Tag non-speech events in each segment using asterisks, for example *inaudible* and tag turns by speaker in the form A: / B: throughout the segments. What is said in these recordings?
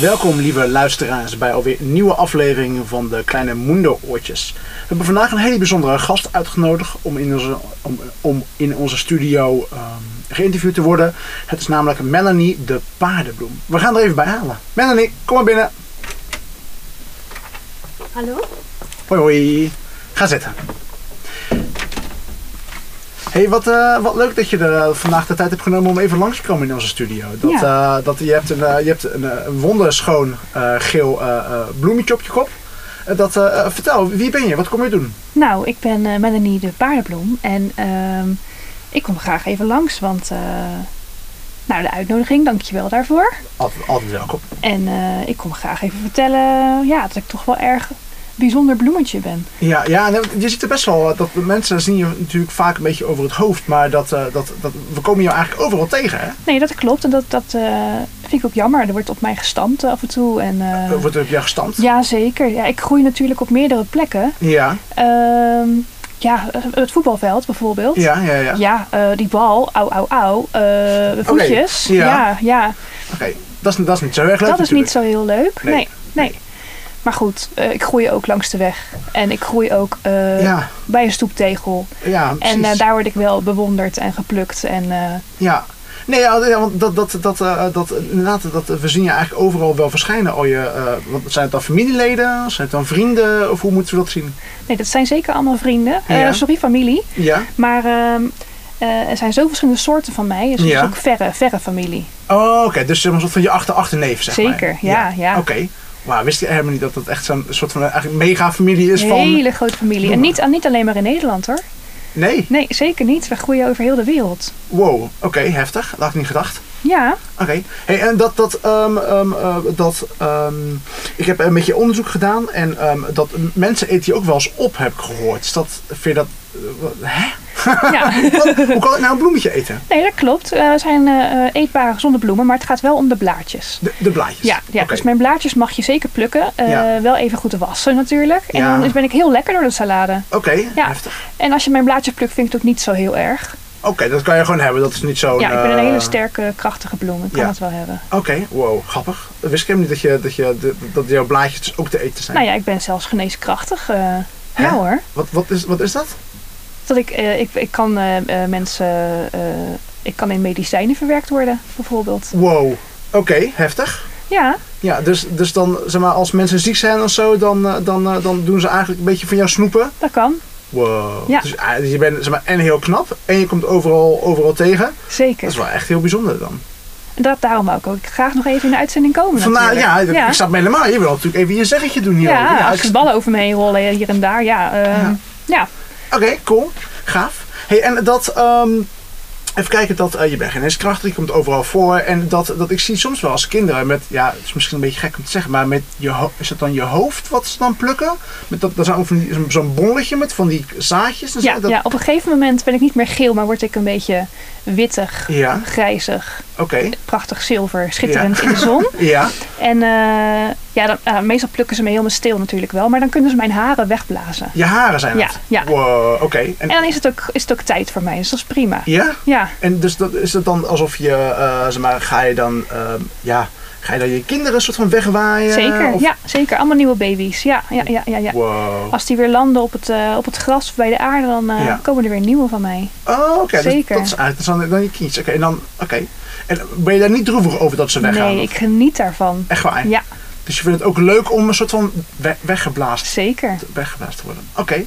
A: Welkom lieve luisteraars bij alweer een nieuwe aflevering van de Kleine Mundo Oortjes. We hebben vandaag een hele bijzondere gast uitgenodigd om in onze, om, om in onze studio ehm, geïnterviewd te worden. Het is namelijk Melanie de Paardenbloem. We gaan er even bij halen. Melanie, kom maar binnen.
B: Hallo?
A: Hoi hoi. Ga zitten. hey, wat, eh, wat leuk dat je er eh, vandaag de tijd hebt genomen om even langs te komen in onze studio. Dat, eh, dat, je hebt een, eh, je hebt een eh, een wonderschoon eh, geel eh, eh, bloemetje op je kop. Eh, dat, eh, eh, vertel, wie ben je? Wat kom je doen?
B: Nou, ik ben eh, Melanie de Paardenbloem en ehm, ik kom graag even langs, want eh, nou, de uitnodiging, dankjewel daarvoor.
A: Altijd, altijd welkom.
B: En eh, ik kom graag even vertellen ja, dat ik toch wel erg bijzonder bloemetje ben.
A: Ja, ja nee, want je ziet er best wel eh, dat mensen zien je natuurlijk vaak een beetje over het hoofd. Maar dat, eh, dat, dat, we komen je eigenlijk overal tegen. Hè?
B: Nee, dat klopt en dat, dat eh, vind ik ook jammer. Er wordt op mij gestampt eh, af en toe. En, eh,
A: Wordt er op jou gestampt?
B: ja, zeker. Ja, ik groei natuurlijk op meerdere plekken.
A: Ja,
B: Ehm, ja, eh, het voetbalveld bijvoorbeeld.
A: ja, ja. ja.
B: Ja, eh, die bal, au, au, au, eh, de voetjes.
A: ja.
B: ja, ja.
A: Oké, dat, is, dat is niet zo erg leuk
B: dat is
A: natuurlijk.
B: niet zo heel leuk.
A: Nee,
B: Nee, nee. Maar goed, eh, ik groei ook langs de weg. En ik groei ook eh,
A: Ja,
B: bij een stoeptegel.
A: ja, precies.
B: En eh, daar word ik wel bewonderd en geplukt. En eh,
A: Ja. Nee, ja, ja, want dat, dat, dat, eh, dat, inderdaad, dat, we zien je eigenlijk overal wel verschijnen. Al je, eh, wat, zijn het dan familieleden? Zijn het dan vrienden? Of hoe moeten we dat zien?
B: nee, dat zijn zeker allemaal vrienden. Eh,
A: Ja.
B: sorry, familie.
A: Ja.
B: Maar ehm, eh, er zijn zo verschillende soorten van mij. Dus het
A: Ja.
B: is ook verre, verre familie.
A: Oh, oké. Dus zeg maar, een soort van je achter-achterneef, zeg maar.
B: zeker, ja, ja.
A: Oké. Wauw, wist je helemaal niet dat dat echt zo'n soort van eh, eigenlijk mega-familie is
B: Een
A: van...
B: hele grote familie. En
A: Doe
B: niet, niet alleen maar in Nederland hoor.
A: Nee?
B: Nee, zeker niet. We groeien over heel de wereld.
A: Wow. Oké, heftig. Dat had ik niet gedacht.
B: Ja,
A: Oké. Hey, en dat, dat, ehm, ehm, eh, dat ehm, ik heb een beetje onderzoek gedaan en ehm, dat mensen eten je ook wel eens op, heb ik gehoord. Is dat, vind je dat, eh, wat- hè? *laughs*
B: ja. *laughs*
A: Wat? Hoe kan ik nou een bloemetje eten?
B: Nee, dat klopt. Eh, Het zijn eh, eh, eetbare gezonde bloemen, maar het gaat wel om de blaadjes.
A: De, de blaadjes.
B: Ja, ja
A: Oké.
B: dus mijn blaadjes mag je zeker plukken. Eh,
A: Ja.
B: Wel even goed wassen natuurlijk. En
A: Ja.
B: dan ben ik heel lekker door de salade.
A: Oké,
B: Ja.
A: heftig.
B: En als je mijn blaadje plukt, vind ik het ook niet zo heel erg.
A: Oké, dat kan je gewoon hebben. Dat is niet zo'n...
B: ja, ik ben een hele
A: eh,
B: sterke, krachtige bloem. Ik kan
A: ja.
B: het wel hebben.
A: Oké, wow, grappig. Dat Wist ik helemaal niet dat, je, dat, je, dat- dat jouw blaadjes dus ook te eten zijn.
B: Nou ja, ik ben zelfs geneeskrachtig. eh
A: Hè?
B: ja hoor.
A: wat, wat, is, wat is dat?
B: Dat ik, eh, ik, ik kan eh, eh, mensen... eh, ik kan in medicijnen verwerkt worden, bijvoorbeeld.
A: Wow. Oké, heftig.
B: Ja,
A: Ja, dus, dus dan, zeg maar, als mensen ziek zijn of zo, dan, eh, dan, eh, dan doen ze eigenlijk een beetje van jou snoepen.
B: dat kan.
A: Wow.
B: Ja.
A: Dus ah, je bent zeg maar, en heel knap en je komt overal, overal tegen. Dat is
B: Zeker.
A: wel echt heel bijzonder dan.
B: Dat, daarom ook. Ik graag nog even in de uitzending komen
A: Vandaar,
B: natuurlijk.
A: ja, ik snap me helemaal. Je wil natuurlijk even je zeggetje doen hier.
B: Ja,
A: Ja,
B: als de
A: ik-
B: ballen over me heen rollen hier en daar, ja. ehm,
A: Ja.
B: ja.
A: Oké, cool. Gaaf. hey, en dat... ehm, even kijken, dat, eh, je bent geneeskrachtig, je komt overal voor. En dat, dat ik zie soms wel als kinderen met... Ja, het is misschien een beetje gek om te zeggen, maar met je ho- is het dan je hoofd wat ze dan plukken? Met dat, daar zijn ook van die- zo'n- zo'n bolletje met van die zaadjes. en zo.
B: Ja,
A: Dus dat,
B: ja, op een gegeven moment ben ik niet meer geel, maar word ik een beetje wittig,
A: Ja,
B: grijzig,
A: oké.
B: prachtig zilver, schitterend in de zon.
A: *laughs* Ja,
B: En eh, ja, dan, eh, meestal plukken ze me helemaal stil natuurlijk wel, maar dan kunnen ze mijn haren wegblazen.
A: je haren zijn
B: Ja,
A: het.
B: ja.
A: Wow, oké. En,
B: En dan is het, ook, is het ook tijd voor mij, dus dat is prima.
A: ja?
B: Ja,
A: En dus dat, is het dan alsof je, eh, zeg maar, ga je dan, ehm, ja, ga je dan je kinderen een soort van wegwaaien?
B: zeker.
A: Of-
B: Ja, zeker. Allemaal nieuwe baby's. Ja, ja, ja, ja, ja.
A: Wow.
B: Als die weer landen op het, eh, op het gras of bij de aarde, dan eh,
A: Ja.
B: komen er weer nieuwe van mij.
A: Oh, oké. dus
B: Ah, Zeker.
A: dat is eigenlijk dat is dan, dan je kindjes. Oké, en dan, oké. En ben je daar niet droevig over dat ze weggaan?
B: Nee, ik geniet daarvan.
A: Echt waar?
B: Ja,
A: Dus je vindt het ook leuk om een soort van we- weggeblaast,
B: zeker.
A: weggeblaast te worden? Oké.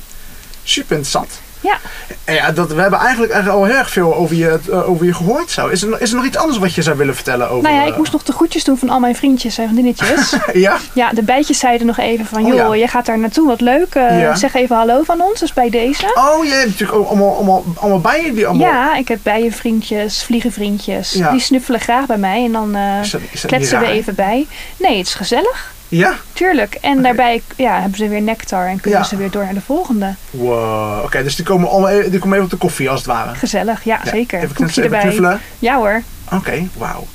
A: Super interessant.
B: Ja.
A: En ja, dat, we hebben eigenlijk echt al heel erg veel over je, eh, over je gehoord. Zo. Is, er, no- is er nog iets anders wat je zou willen vertellen over...
B: Nou ja,
A: eh,
B: ik moest nog de groetjes doen van al mijn vriendjes en
A: *laughs*
B: vriendinnetjes.
A: Ja?
B: ja, de bijtjes zeiden nog even van,
A: Oh,
B: joh,
A: ja.
B: jij gaat daar naartoe, wat leuk. eh,
A: Ja.
B: Zeg even hallo van ons, dus bij deze.
A: Oh, je hebt natuurlijk ook allemaal, allemaal, allemaal bijen die allemaal...
B: Ja, ik heb bijenvriendjes, vliegenvriendjes.
A: Ja.
B: Die snuffelen graag bij mij en dan eh,
A: Is dat- is dat niet
B: kletsen we
A: raar?
B: even bij. Nee, het is gezellig,
A: Ja?
B: tuurlijk. En daarbij ja, hebben ze weer nectar en kunnen
A: Ja.
B: ze weer door naar de volgende.
A: Wow. Oké, dus die komen, allemaal, e- die komen
B: *laughs*
A: even op de koffie als het ware.
B: Gezellig, ja,
A: Ja,
B: zeker.
A: Even
B: Koekje
A: knutselen, even
B: erbij.
A: knuffelen.
B: Ja hoor.
A: Oké, wauw.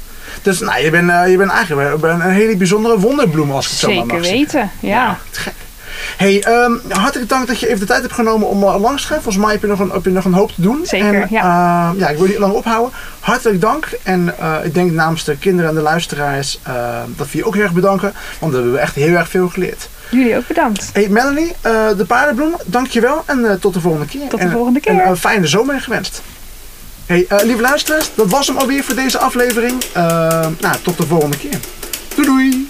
A: Dus nou, je bent, eh, je bent eigenlijk wel een hele bijzondere wonderbloem als ik het zo maar
B: Zeker
A: mag zeggen.
B: weten, ja.
A: te gek. Hey, ehm, hartelijk dank dat je even de tijd hebt genomen om eh, langs te gaan. Volgens mij heb je nog een, heb je nog een hoop te doen.
B: Zeker,
A: en, eh, ja, ik wil niet lang ophouden. Hartelijk dank. En eh, ik denk namens de kinderen en de luisteraars eh, dat we je ook heel erg bedanken. Want daar hebben we echt heel erg veel geleerd.
B: Jullie ook bedankt.
A: Hey Melanie, eh, de paardenbloem, dankjewel. En eh, tot de volgende keer.
B: Tot de
A: En,
B: volgende keer.
A: En een fijne zomer gewenst. Hey, eh, lieve luisteraars, dat was hem alweer voor deze aflevering. Eh, nou, tot de volgende keer. Doei doei!